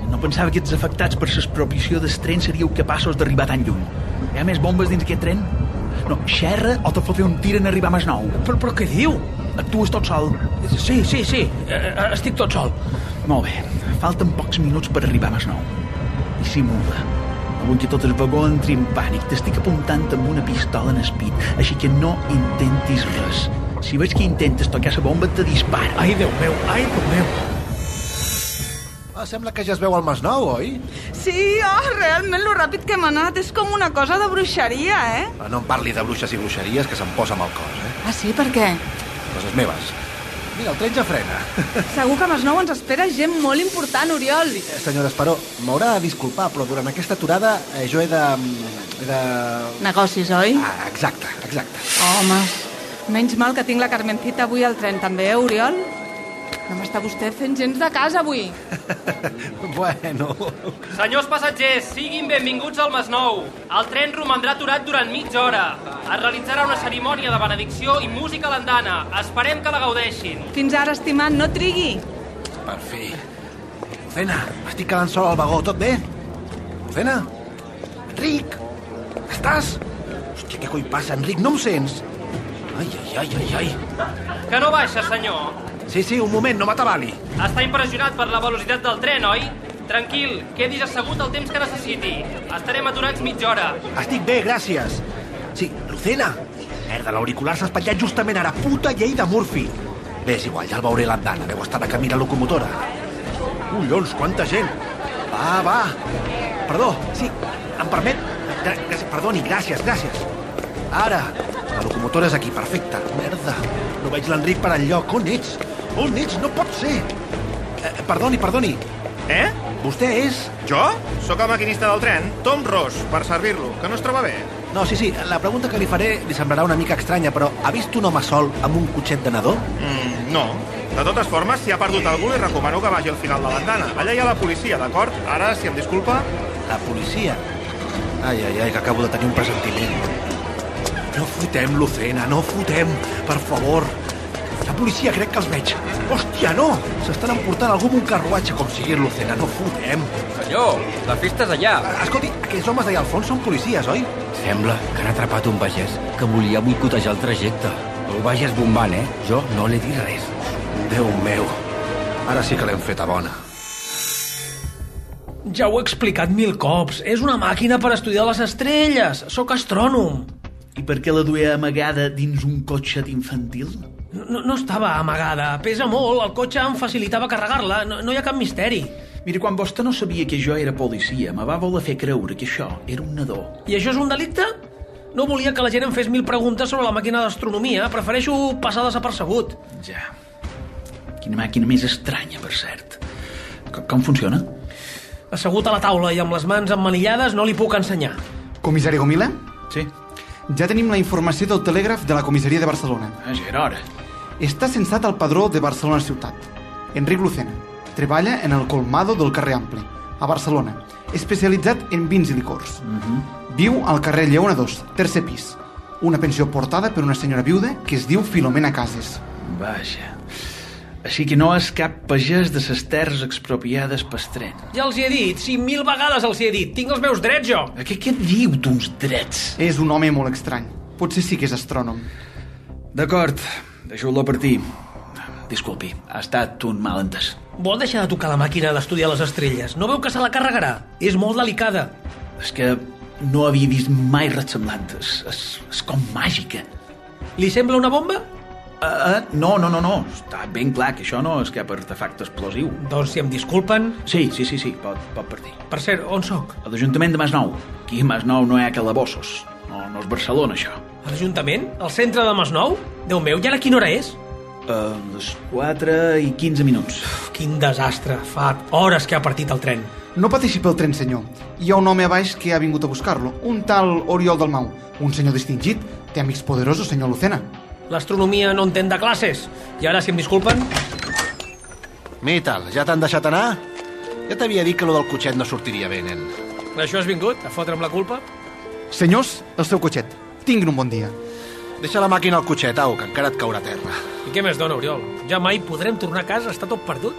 M: No pensava que els afectats per l'expropiació del tren seríeu capaços d'arribar tan lluny. Hi ha més bombes dins aquest tren? No, xerra o te fotré un tir en arribar a Masnou.
F: Però, però què diu?
M: Actues tot sol?
F: Sí, sí, sí. Eh, estic tot sol.
M: Molt bé. Falten pocs minuts per arribar a Masnou. I simula. No vull que tot el vagó entri en pànic. T'estic apuntant amb una pistola en espit, així que no intentis res. Si veig que intentes tocar la bomba, te disparo.
F: Ai, Déu meu, ai, Déu meu.
C: Ah, sembla que ja es veu al Masnou, oi?
G: Sí, oh, realment, lo ràpid que hem anat és com una cosa de bruixeria, eh?
C: Ah, No em parli de bruixes i bruixeries, que se'm posa mal cos, eh?
G: Ah, sí? Per què?
C: Coses meves. Mira, el tren ja frena.
G: Segur que a Masnou ens espera gent molt important, Oriol.
C: Eh, Senyora Esperó, m'haurà de disculpar, però durant aquesta aturada eh, jo he de... mm, He de...
G: Negocis, oi?
C: Ah, exacte, exacte.
G: Homes, Oh, menys mal que tinc la Carmencita avui al tren també, eh, Oriol? No m'està vostè fent gens de casa avui.
C: Bueno...
N: Senyors passatgers, siguin benvinguts al Masnou. El tren romandrà aturat durant mitja hora. Es realitzarà una cerimònia de benedicció i música a l'andana. Esperem que la gaudeixin.
G: Fins ara, estimat, no trigui.
C: Per fi. Lucena, estic quedant sol al vagó, tot bé? Lucena? Enric? Estàs? Hòstia, què coi passa, Enric? No em sents? Ai, ai, ai, ai, ai.
N: Que no baixa, senyor.
C: Sí, sí, un moment, no m'atabali.
N: Està impressionat per la velocitat del tren, oi? Tranquil, quedis assegut el temps que necessiti. Estarem aturats mitja hora.
C: Estic bé, gràcies. Sí, Lucena. Merda, l'auricular s'ha espatllat justament ara. Puta llei de Murphy. Bé, és igual, ja el veuré a l'andana. Deu estar de camí a la locomotora. Collons, quanta gent. Va, va. Perdó, sí, em permet? Gra gra- perdoni, gràcies, gràcies. Ara, la locomotora és aquí, perfecta. Merda, no veig l'Enric per enlloc. On ets? On ets? No pot ser. Eh, perdoni, perdoni.
O: Eh? Vostè és... Jo? Sóc el maquinista del tren, Tom Ross, per servir-lo, que no es troba bé.
C: No, sí, sí, la pregunta que li faré li semblarà una mica estranya, però ha vist un home sol amb un cotxet de nadó?
O: Mm, no. De totes formes, si ha perdut algú, li recomano que vagi al final de l'andana. Allà hi ha la policia, d'acord? Ara, si em disculpa...
C: La policia? Ai, ai, ai, que acabo de tenir un pressentiment. No fotem, Lucena, no fotem, per favor. La policia crec que els veig. Hòstia, no! S'estan emportant algú amb un carruatge, com sigui, Lucena, no fotem.
P: Senyor, la festa és allà.
C: Escolti, aquells homes d'allà al fons són policies, oi?
Q: Sembla que han atrapat un pagès que volia boicotejar el trajecte. El Bages bombant, eh? Jo no l'he dit res.
C: Déu meu, ara sí que l'hem feta bona.
F: Ja ho he explicat mil cops. És una màquina per estudiar les estrelles. Sóc astrònom.
M: I per què la duia amagada dins un cotxet infantil?
F: No, no estava amagada. Pesa molt, el cotxe em facilitava carregar-la. No, no hi ha cap misteri.
M: Mira, quan vostè no sabia que jo era policia, me va voler fer creure que això era un nadó.
F: I això és un delicte? No volia que la gent em fes mil preguntes sobre la màquina d'astronomia. Prefereixo passar desapercebut.
M: Ja. Quina màquina més estranya, per cert. Com, com funciona?
F: Assegut a la taula i amb les mans emmanillades no li puc ensenyar.
R: Comissari Gomila?
M: Sí.
R: Ja tenim la informació del telègraf de la comissaria de Barcelona.
M: Ah, ja era hora.
R: Està censat al padró de Barcelona Ciutat. Enric Lucena. Treballa en el colmado del carrer Ample, a Barcelona, especialitzat en vins i licors.
M: Uh -huh.
R: Viu al carrer Lleona 2, tercer pis. Una pensió portada per una senyora viuda que es diu Filomena Cases.
M: Vaja. Així que no és cap pagès de ses terres expropiades pastren.
F: Ja els hi he dit, 5.000 vegades els hi he dit. Tinc els meus drets, jo.
M: Què, què et diu d'uns drets?
R: És un home molt estrany. Potser sí que és astrònom.
M: D'acord, deixeu-lo partir. Disculpi, ha estat un malentès.
F: Vol deixar de tocar la màquina d'estudiar les estrelles? No veu que se la carregarà? És molt delicada.
M: És que no havia vist mai res semblant. És, és, és com màgica.
F: Li sembla una bomba?
M: Uh, no, no, no, no. Està ben clar que això no és cap artefacte explosiu.
F: Doncs si em disculpen...
M: Sí, sí, sí, sí, pot, pot partir.
F: Per cert, on sóc?
M: A l'Ajuntament de Masnou. Aquí a Masnou no hi ha calabossos. No, no és Barcelona, això.
F: A l'Ajuntament? Al centre de Masnou? Déu meu, ja ara quina hora és?
M: Uh, les 4 i 15 minuts. Uf,
F: quin desastre. Fa hores que ha partit el tren.
R: No pateixi pel tren, senyor. Hi ha un home a baix que ha vingut a buscar-lo. Un tal Oriol Dalmau. Un senyor distingit. Té amics poderosos, senyor Lucena.
F: L'astronomia no entén de classes. I ara, si em disculpen...
C: Metal, ja t'han deixat anar? Ja t'havia dit que lo del cotxet no sortiria bé, nen.
F: Per això has vingut? A fotre'm la culpa?
R: Senyors, el seu cotxet. Tinguin un bon dia.
C: Deixa la màquina al cotxet, au, que encara et caurà a terra.
F: I què més dona, Oriol? Ja mai podrem tornar a casa, està tot perdut.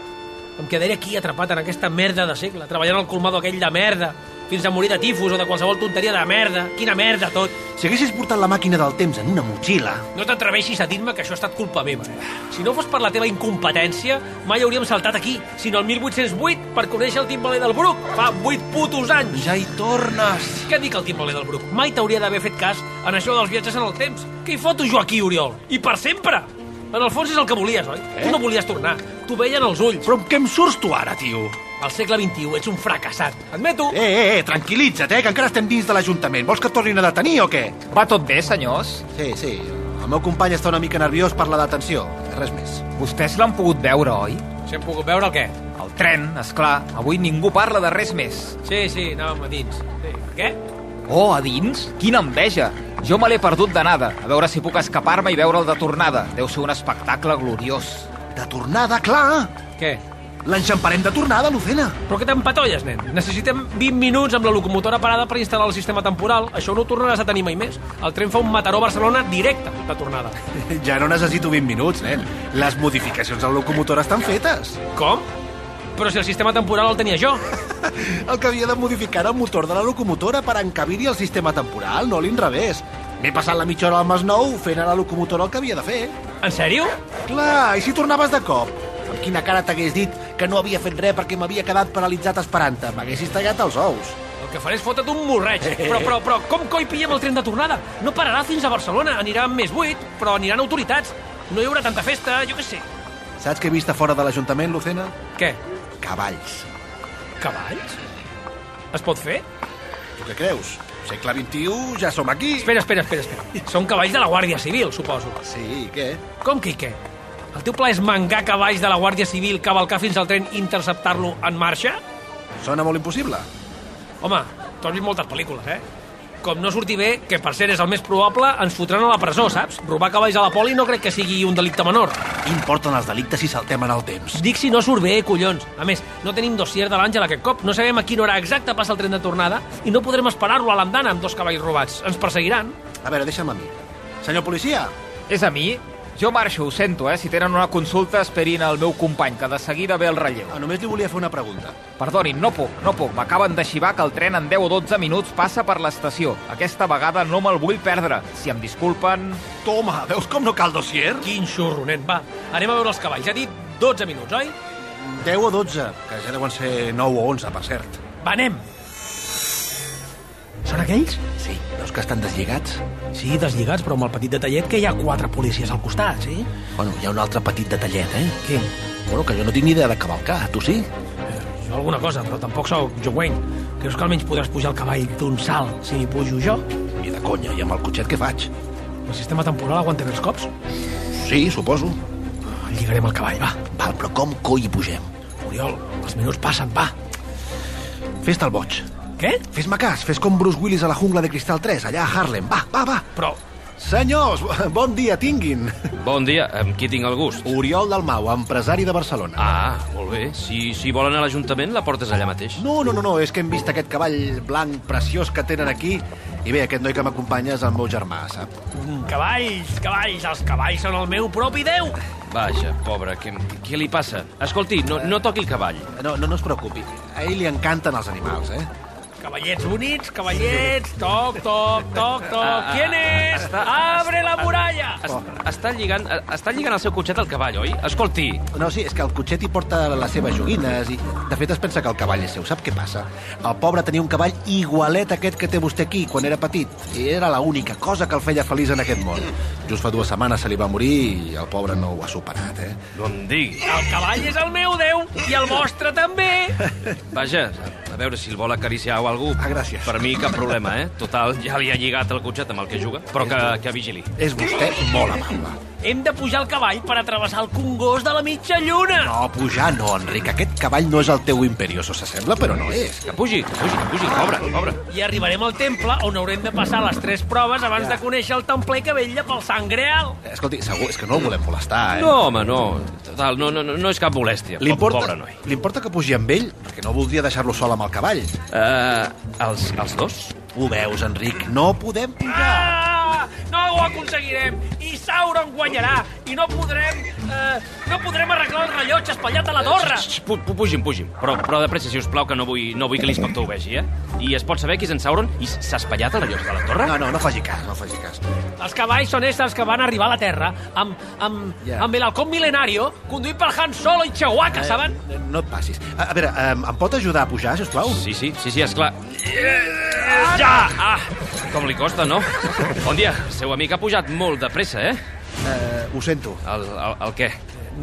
F: Em quedaré aquí atrapat en aquesta merda de segle, treballant al colmado aquell de merda, fins a morir de tifus o de qualsevol tonteria de merda. Quina merda, tot.
C: Si haguessis portat la màquina del temps en una motxilla...
F: No t'atreveixis a dir-me que això ha estat culpa meva. Si no fos per la teva incompetència, mai hauríem saltat aquí, sinó el 1808, per conèixer el timbaler del Bruc, fa 8 putos anys.
C: Ja hi tornes.
F: Què dic el timbaler del Bruc? Mai t'hauria d'haver fet cas en això dels viatges en el temps. Què hi foto jo aquí, Oriol? I per sempre! En el fons és el que volies, oi? Eh? Tu no volies tornar. T'ho veien els ulls.
C: Però amb què em surts tu ara, tio?
F: Al segle XXI ets un fracassat. Admeto.
C: Eh, eh, eh, tranquil·litza't, eh, que encara estem dins de l'Ajuntament. Vols que et tornin a detenir o què?
P: Va tot bé, senyors?
C: Sí, sí. El meu company està una mica nerviós per la detenció. Res més.
P: Vostès l'han pogut veure, oi?
F: Si hem pogut veure el què?
P: El tren, és clar. Avui ningú parla de res més.
F: Sí, sí, anàvem a dins. Sí. Què?
P: Oh, a dins? Quina enveja! Jo me l'he perdut d'anada. A veure si puc escapar-me i veure'l de tornada. Deu ser un espectacle gloriós.
C: De tornada, clar!
F: Què?
C: L'enxamparem de tornada, Lucena.
F: Però què t'empatolles, nen? Necessitem 20 minuts amb la locomotora parada per instal·lar el sistema temporal. Això no ho tornaràs a tenir mai més. El tren fa un Mataró-Barcelona directe de tornada.
C: Ja no necessito 20 minuts, nen. Les modificacions a la locomotora estan fetes.
F: Com? Però si el sistema temporal el tenia jo.
C: el que havia de modificar era el motor de la locomotora per encabir-hi el sistema temporal, no l'inrevés. M'he passat la mitja hora al Masnou fent a la locomotora el que havia de fer.
F: En sèrio?
C: Clar, i si tornaves de cop? Amb quina cara t'hagués dit que no havia fet res perquè m'havia quedat paralitzat esperant-te? M'haguessis tallat els ous.
F: El que faré és fotre't un morreig. Però, però, però, com coi pillem el tren de tornada? No pararà fins a Barcelona, anirà amb més buit, però aniran autoritats. No hi haurà tanta festa, jo què sé.
C: Saps què he vist a fora de l'Ajuntament, Lucena?
F: Què?
C: Cavalls.
F: Cavalls? Es pot fer?
C: Tu què creus? Segle XXI, ja som aquí.
F: Espera, espera, espera. espera. Són cavalls de la Guàrdia Civil, suposo.
C: Sí, i què?
F: Com que i què? El teu pla és mangar cavalls de la Guàrdia Civil, cavalcar fins al tren i interceptar-lo en marxa?
C: Sona molt impossible.
F: Home, tu has vist moltes pel·lícules, eh? Com no surti bé, que per ser és el més probable, ens fotran a la presó, saps? Robar cavalls a la poli no crec que sigui un delicte menor.
C: Importen els delictes si saltem en el temps.
F: Dic si no surt bé, eh, collons. A més, no tenim dossier de l'Àngel aquest cop, no sabem a quina hora exacta passa el tren de tornada i no podrem esperar-lo a l'andana amb dos cavalls robats. Ens perseguiran.
C: A veure, deixa'm a mi. Senyor policia!
S: És a mi? Jo marxo, ho sento, eh? Si tenen una consulta, esperin el meu company, que de seguida ve el relleu.
C: Ah, només li volia fer una pregunta.
S: Perdonin, no puc, no puc. M'acaben de xivar que el tren en 10 o 12 minuts passa per l'estació. Aquesta vegada no me'l vull perdre. Si em disculpen...
C: Toma, veus com no cal dossier?
F: Quin xurro, nen, va. Anem a veure els cavalls. Ja dit 12 minuts, oi?
C: 10 o 12, que ja deuen ser 9 o 11, per cert.
F: Va, anem.
L: Són aquells?
C: Sí, veus que estan deslligats?
L: Sí, deslligats, però amb el petit detallet que hi ha quatre policies al costat, sí?
C: Bueno, hi ha un altre petit detallet, eh?
L: Quin?
C: Bueno, que jo no tinc ni idea de cavalcar, tu sí?
F: Jo alguna cosa, però tampoc sóc jo Wayne. Creus que almenys podràs pujar el cavall d'un salt si hi pujo jo?
C: Ni de conya, i amb el cotxet què faig?
F: El sistema temporal aguanta bé els cops?
C: Sí, suposo.
F: Lligarem el cavall, va.
C: Val, però com coi hi pugem?
F: Oriol, els minuts passen, va.
C: Fes-te el boig.
F: Què?
C: Fes-me cas, fes com Bruce Willis a la jungla de Cristal 3, allà a Harlem. Va, va, va.
F: Però...
C: Senyors, bon dia tinguin.
T: Bon dia, amb qui tinc el gust?
C: Oriol Dalmau, empresari de Barcelona.
T: Ah, molt bé. Si, si volen a l'Ajuntament, la portes allà mateix.
C: No, no, no, no, és que hem vist aquest cavall blanc preciós que tenen aquí i bé, aquest noi que m'acompanya és el meu germà, sap?
F: Cavalls, cavalls, els cavalls són el meu propi déu.
T: Vaja, pobre, què, què li passa? Escolti, no, no toqui el cavall.
C: No, no, no es preocupi, a ell li encanten els animals, eh?
F: Cavallets bonits, cavallets, toc, toc, toc,
T: Ah,
F: toc. ¿Quién és? Abre la muralla!
T: Es, està, lligant, està lligant el seu cotxet al cavall, oi? Escolti,
C: No, sí, és que el cotxet hi porta les seves joguines i, de fet, es pensa que el cavall és seu. Sap què passa? El pobre tenia un cavall igualet a aquest que té vostè aquí quan era petit. I era la única cosa que el feia feliç en aquest món. Just fa dues setmanes se li va morir i el pobre no ho ha superat, eh?
T: no em digui.
F: El cavall és el meu déu i el vostre també.
T: Vaja, a veure si el vol acariciar o algú.
C: Ah, gràcies.
T: Per mi cap problema, eh? Total, ja li ha lligat el cotxet amb el que juga, però que, que vigili.
C: És vostè molt amable.
F: Hem de pujar el cavall per atravessar el congost de la mitja lluna.
C: No, pujar no, Enric. Aquest cavall no és el teu imperioso, s'assembla, però no és.
T: Que pugi, que pugi, que pugi, cobra, cobra.
F: I arribarem al temple on haurem de passar les tres proves abans de conèixer el templer que vella pel Sant Greal.
C: Escolti, segur, és que no el volem molestar, eh?
T: No, home, no. Total, no, no, no no és cap molèstia.
C: Li importa,
T: Pobre noi.
C: li importa que pugi amb ell? Perquè no voldria deixar-lo sol amb el cavall.
T: Uh, els, els dos?
C: Ho veus, Enric? No podem pujar.
F: Ah! No ho aconseguirem! I Sauron guanyarà! I no podrem... Eh, no podrem arreglar el rellotge espallat a la torre!
T: Xx, Eh, pu- pu- Pugin, pugin. Però, però de pressa, si us plau, que no vull, no vull que l'inspector ho vegi, eh? I es pot saber qui és en Sauron? I s'ha espallat el rellotge de la torre?
C: No, no, no faci cas, no faci cas.
F: Els cavalls són éssers que van arribar a la Terra amb, amb,
C: Ja.
F: amb el halcón milenario conduït per Han Solo i Chewbacca, saben?
C: Eh, No et passis. A, a veure, eh, em pot ajudar a pujar, sisplau?
T: Sí, sí, sí, sí, esclar. Ja! Ah, com li costa, no? Bon dia, el seu amic ha pujat molt de pressa, eh?
C: Eh, ho sento.
T: El, el, el què?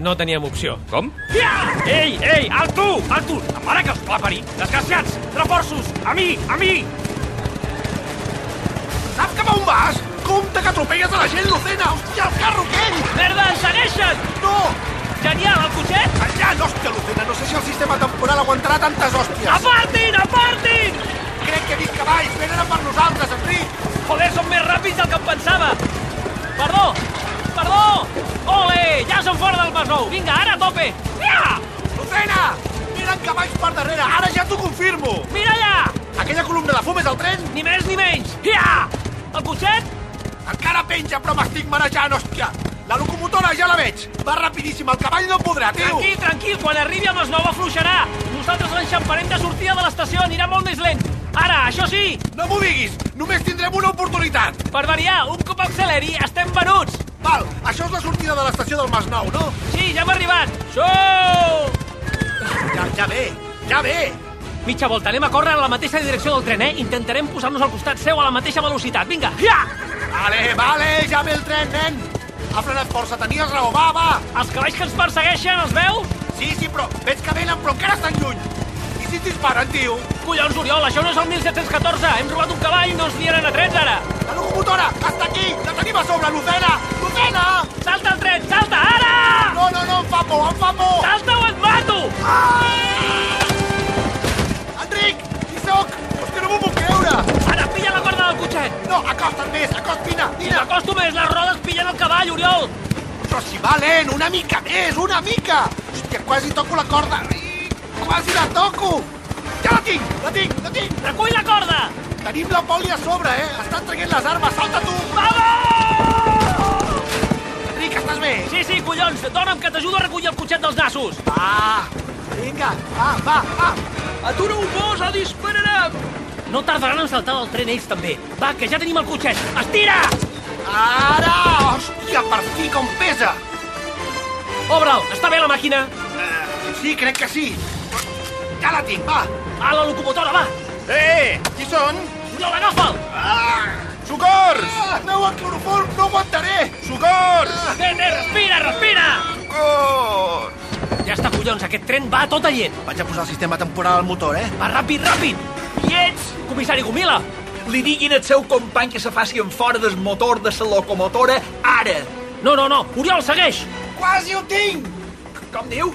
F: No teníem opció.
T: Com?
F: Ja! Ei, ei, al tu! Al tu! La mare que els va parir! Desgraciats! Reforços! A mi! A mi!
C: Saps cap a on vas? Compte que atropelles a la gent, Lucena! Hòstia, el carro aquell!
F: Merda, ens segueixen!
C: No!
F: Genial, el cotxet!
C: Allà, no, hòstia, Lucena, no sé si el sistema temporal aguantarà tantes hòsties.
F: Apartin, apartin!
C: Crec que he vist cavalls, venen a per nosaltres, Enric!
F: Joder, són més ràpids del que em pensava! Perdó! Perdó! Ole! Ja som fora del Masnou! Vinga, ara a tope! Ja!
C: Lucena! Miren cavalls per darrere, ara ja t'ho confirmo!
F: Mira allà!
C: Aquella columna de fum és el tren?
F: Ni més ni menys! Ja! El cotxet?
C: Encara penja, però m'estic marejant, hòstia! La locomotora ja la veig! Va rapidíssim, el cavall no podrà, tio!
F: Tranquil, tranquil, quan arribi el Masnou afluixarà! Nosaltres l'enxamparem de sortida de l'estació, anirà molt més lent! Ara, això sí,
C: No m'ho diguis! Només tindrem una oportunitat!
F: per variar, un cop acceleri, estem venuts!
C: Val, això és la sortida de l'estació del Masnou, no?
F: Sí, ja hem arribat! Xou!
C: Ja, ja ve, ja ve!
F: Mitja volta, anem a córrer en la mateixa direcció del tren, eh? Intentarem posar-nos al costat seu a la mateixa velocitat. Vinga, ja!
C: Vale, vale, ja ve el tren, nen! Ha frenat força, tenies raó, va, va!
F: Els cavalls que ens persegueixen, els veus?
C: Sí, sí, però veig que venen, però encara estan lluny! I si ens disparen, tio?
F: Collons, Oriol, això no és el 1714! Hem robat un cavall, no ens liaran a trets, ara!
C: La locomotora està aquí! La tenim a sobre, Lucena! Lucena!
F: Salta el tren, salta, ara!
C: No,
U: no, no, no, em fa por, em fa por! Salta o et mato! Ah! Enric, hi soc! Hòstia, no m'ho puc creure! Ara, pilla la corda del cotxet! No, acosta't més, acostina, tira! M'acosto més, les rodes pillen el cavall, Oriol! Però si va lent, una mica més, una mica! Hòstia, quasi toco la corda! Ai, Quasi la toco! Ja la tinc, la tinc, la tinc! Recull la corda! Tenim la poli a sobre, eh? Estan traient les armes, salta tu! Vamos! Enric, estàs bé?
V: Sí, sí, collons, dona'm que t'ajudo a recollir el cotxet dels nassos.
C: Ah,
U: Va, vinga, va, va, va.
V: Atura un gos o dispararem. No tardaran en saltar del tren ells també. Va, que ja tenim el cotxet. Estira!
U: Ara! Hòstia, per fi, com pesa!
V: Obre'l, està bé la màquina?
U: sí, crec que sí. Ja la tinc, va.
V: A la locomotora, va.
W: Eh, qui són?
V: No, agafa'l!
U: Ah!
W: Socors!
U: Ah, aneu al cloroform, no aguantaré! Ah,
W: Socors!
V: Nene, respira, respira! Ja està, collons, aquest tren va a tota llet.
C: Vaig a posar el sistema temporal al motor, eh?
V: Va, ràpid, ràpid! Hi ets, comissari Gomila!
M: Li diguin al seu company que se faci en fora del motor de la locomotora ara.
V: No, no, no, Oriol, segueix!
U: Quasi ho tinc!
M: Com diu?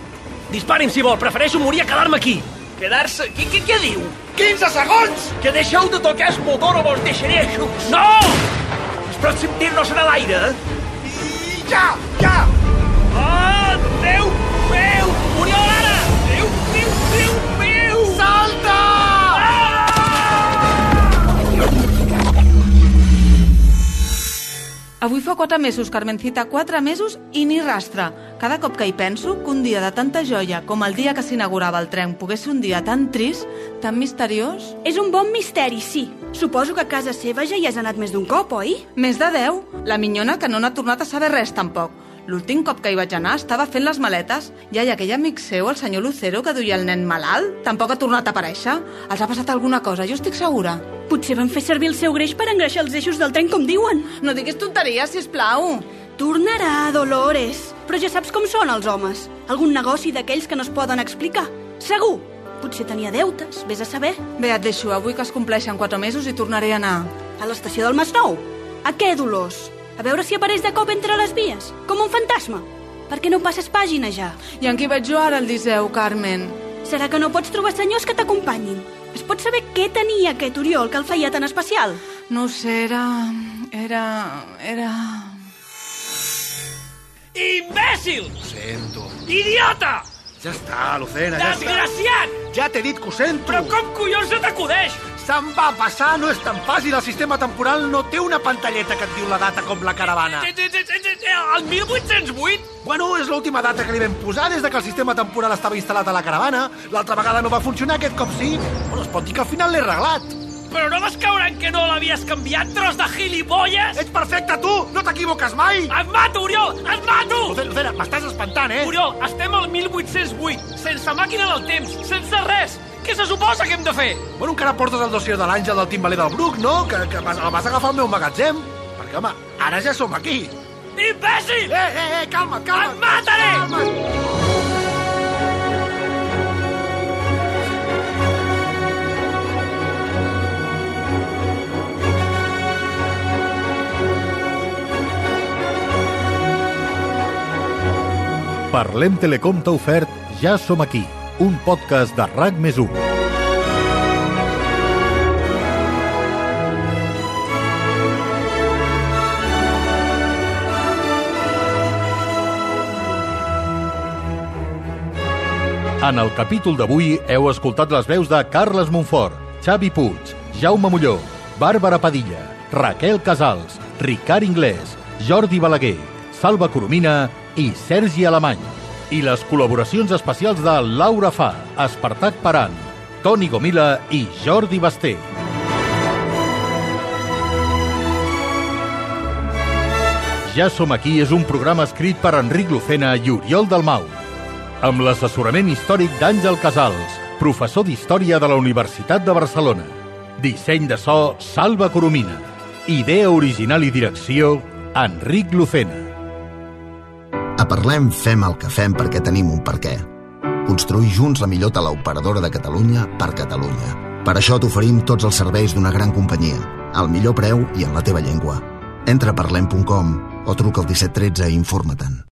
V: Dispari'm si vol, prefereixo morir a quedar-me aquí.
M: Quedar-se... Què, què, què diu?
U: 15 segons!
M: Que deixeu de tocar el motor o vos deixaré aixuts.
V: No!
M: El pròxim tir no serà a l'aire.
C: eh?
U: I ja, ja!
C: Ah,
M: Oh, Déu meu!
V: Oriol, ara!
M: Déu meu, Déu meu!
U: Salta!
C: Ah!
G: Avui fa quatre mesos, Carmencita, quatre mesos i ni rastre. Cada cop que hi penso, que un dia de tanta joia com el dia que s'inaugurava el tren pogués ser un dia tan trist, tan misteriós...
J: És un bon misteri, sí. Suposo que a casa seva ja hi has anat més d'un cop, oi?
G: Més de deu. La minyona que no n'ha tornat a saber res, tampoc. L'últim cop que hi vaig anar estava fent les maletes. Ja hi aquell amic seu, el senyor Lucero, que duia el nen malalt, tampoc ha tornat a aparèixer. Els ha passat alguna cosa, jo estic segura.
J: Potser van fer servir el seu greix per engreixar els eixos del tren, com diuen.
G: No diguis tonteries, si plau.
J: Tornarà, Dolores. Però ja saps com són els homes. Algun negoci d'aquells que no es poden explicar. Segur. Potser tenia deutes, vés a saber.
G: Bé, et deixo. Avui que es compleixen quatre mesos i tornaré a anar.
J: A l'estació del Masnou? A què, Dolors? A veure si apareix de cop entre les vies, com un fantasma. Per què no passes pàgina ja?
G: I en qui vaig jo ara al Liceu, Carmen?
J: Serà que no pots trobar senyors que t'acompanyin? Es pot saber què tenia aquest Oriol que el feia tan especial?
G: No ho sé, era... era... era...
V: Imbècil!
C: Ho sento.
V: Idiota!
C: Ja està, Lucena, ja està.
V: Desgraciat!
C: Ja t'he dit que ho sento.
V: Però com collons se t'acudeix?
C: Se'n va passar, no és tan fàcil. El sistema temporal no té una pantalleta que et diu la data com la caravana.
V: Eh, eh, eh, eh, eh, El 1808?
C: Bueno, és l'última data que li vam posar des de que el sistema temporal estava instal·lat a la caravana. L'altra vegada no va funcionar, aquest cop sí. Bueno, es pot dir que al final l'he arreglat.
V: Però no vas caure en que no l'havies canviat, tros de gilipolles?
C: Ets perfecte, tu! No t'equivoques mai!
V: Et mato, Oriol! Et mato!
C: Lucena, Lucena, m'estàs espantant, eh?
V: Oriol, estem al 1808, sense màquina del temps, sense res. Què se suposa que hem de fer?
C: Bueno, encara portes el dossier de l'Àngel del timbaler del Bruc, no? Que, que vas, el vas agafar al meu magatzem? Perquè, home, ara ja som aquí.
V: Imbècil!
C: Eh, eh, eh, calma, calma!
V: Et mataré!
C: Calma.
A: Parlem Telecom t'ha ofert Ja som aquí, un podcast de RAC més 1. En el capítol d'avui heu escoltat les veus de Carles Monfort, Xavi Puig, Jaume Molló, Bàrbara Padilla, Raquel Casals, Ricard Inglés, Jordi Balaguer, Salva Coromina i Sergi Alemany. I les col·laboracions especials de Laura Fa, Espartac Paran, Toni Gomila i Jordi Basté. Ja som aquí és un programa escrit per Enric Lucena i Oriol Dalmau, amb l'assessorament històric d'Àngel Casals, professor d'Història de la Universitat de Barcelona. Disseny de so, Salva Coromina. Idea original i direcció, Enric Lucena.
X: A Parlem fem el que fem perquè tenim un per què. Construir junts la millor teleoperadora de Catalunya per Catalunya. Per això t'oferim tots els serveis d'una gran companyia, al millor preu i en la teva llengua. Entra a parlem.com o truca al 1713 i informa-te'n.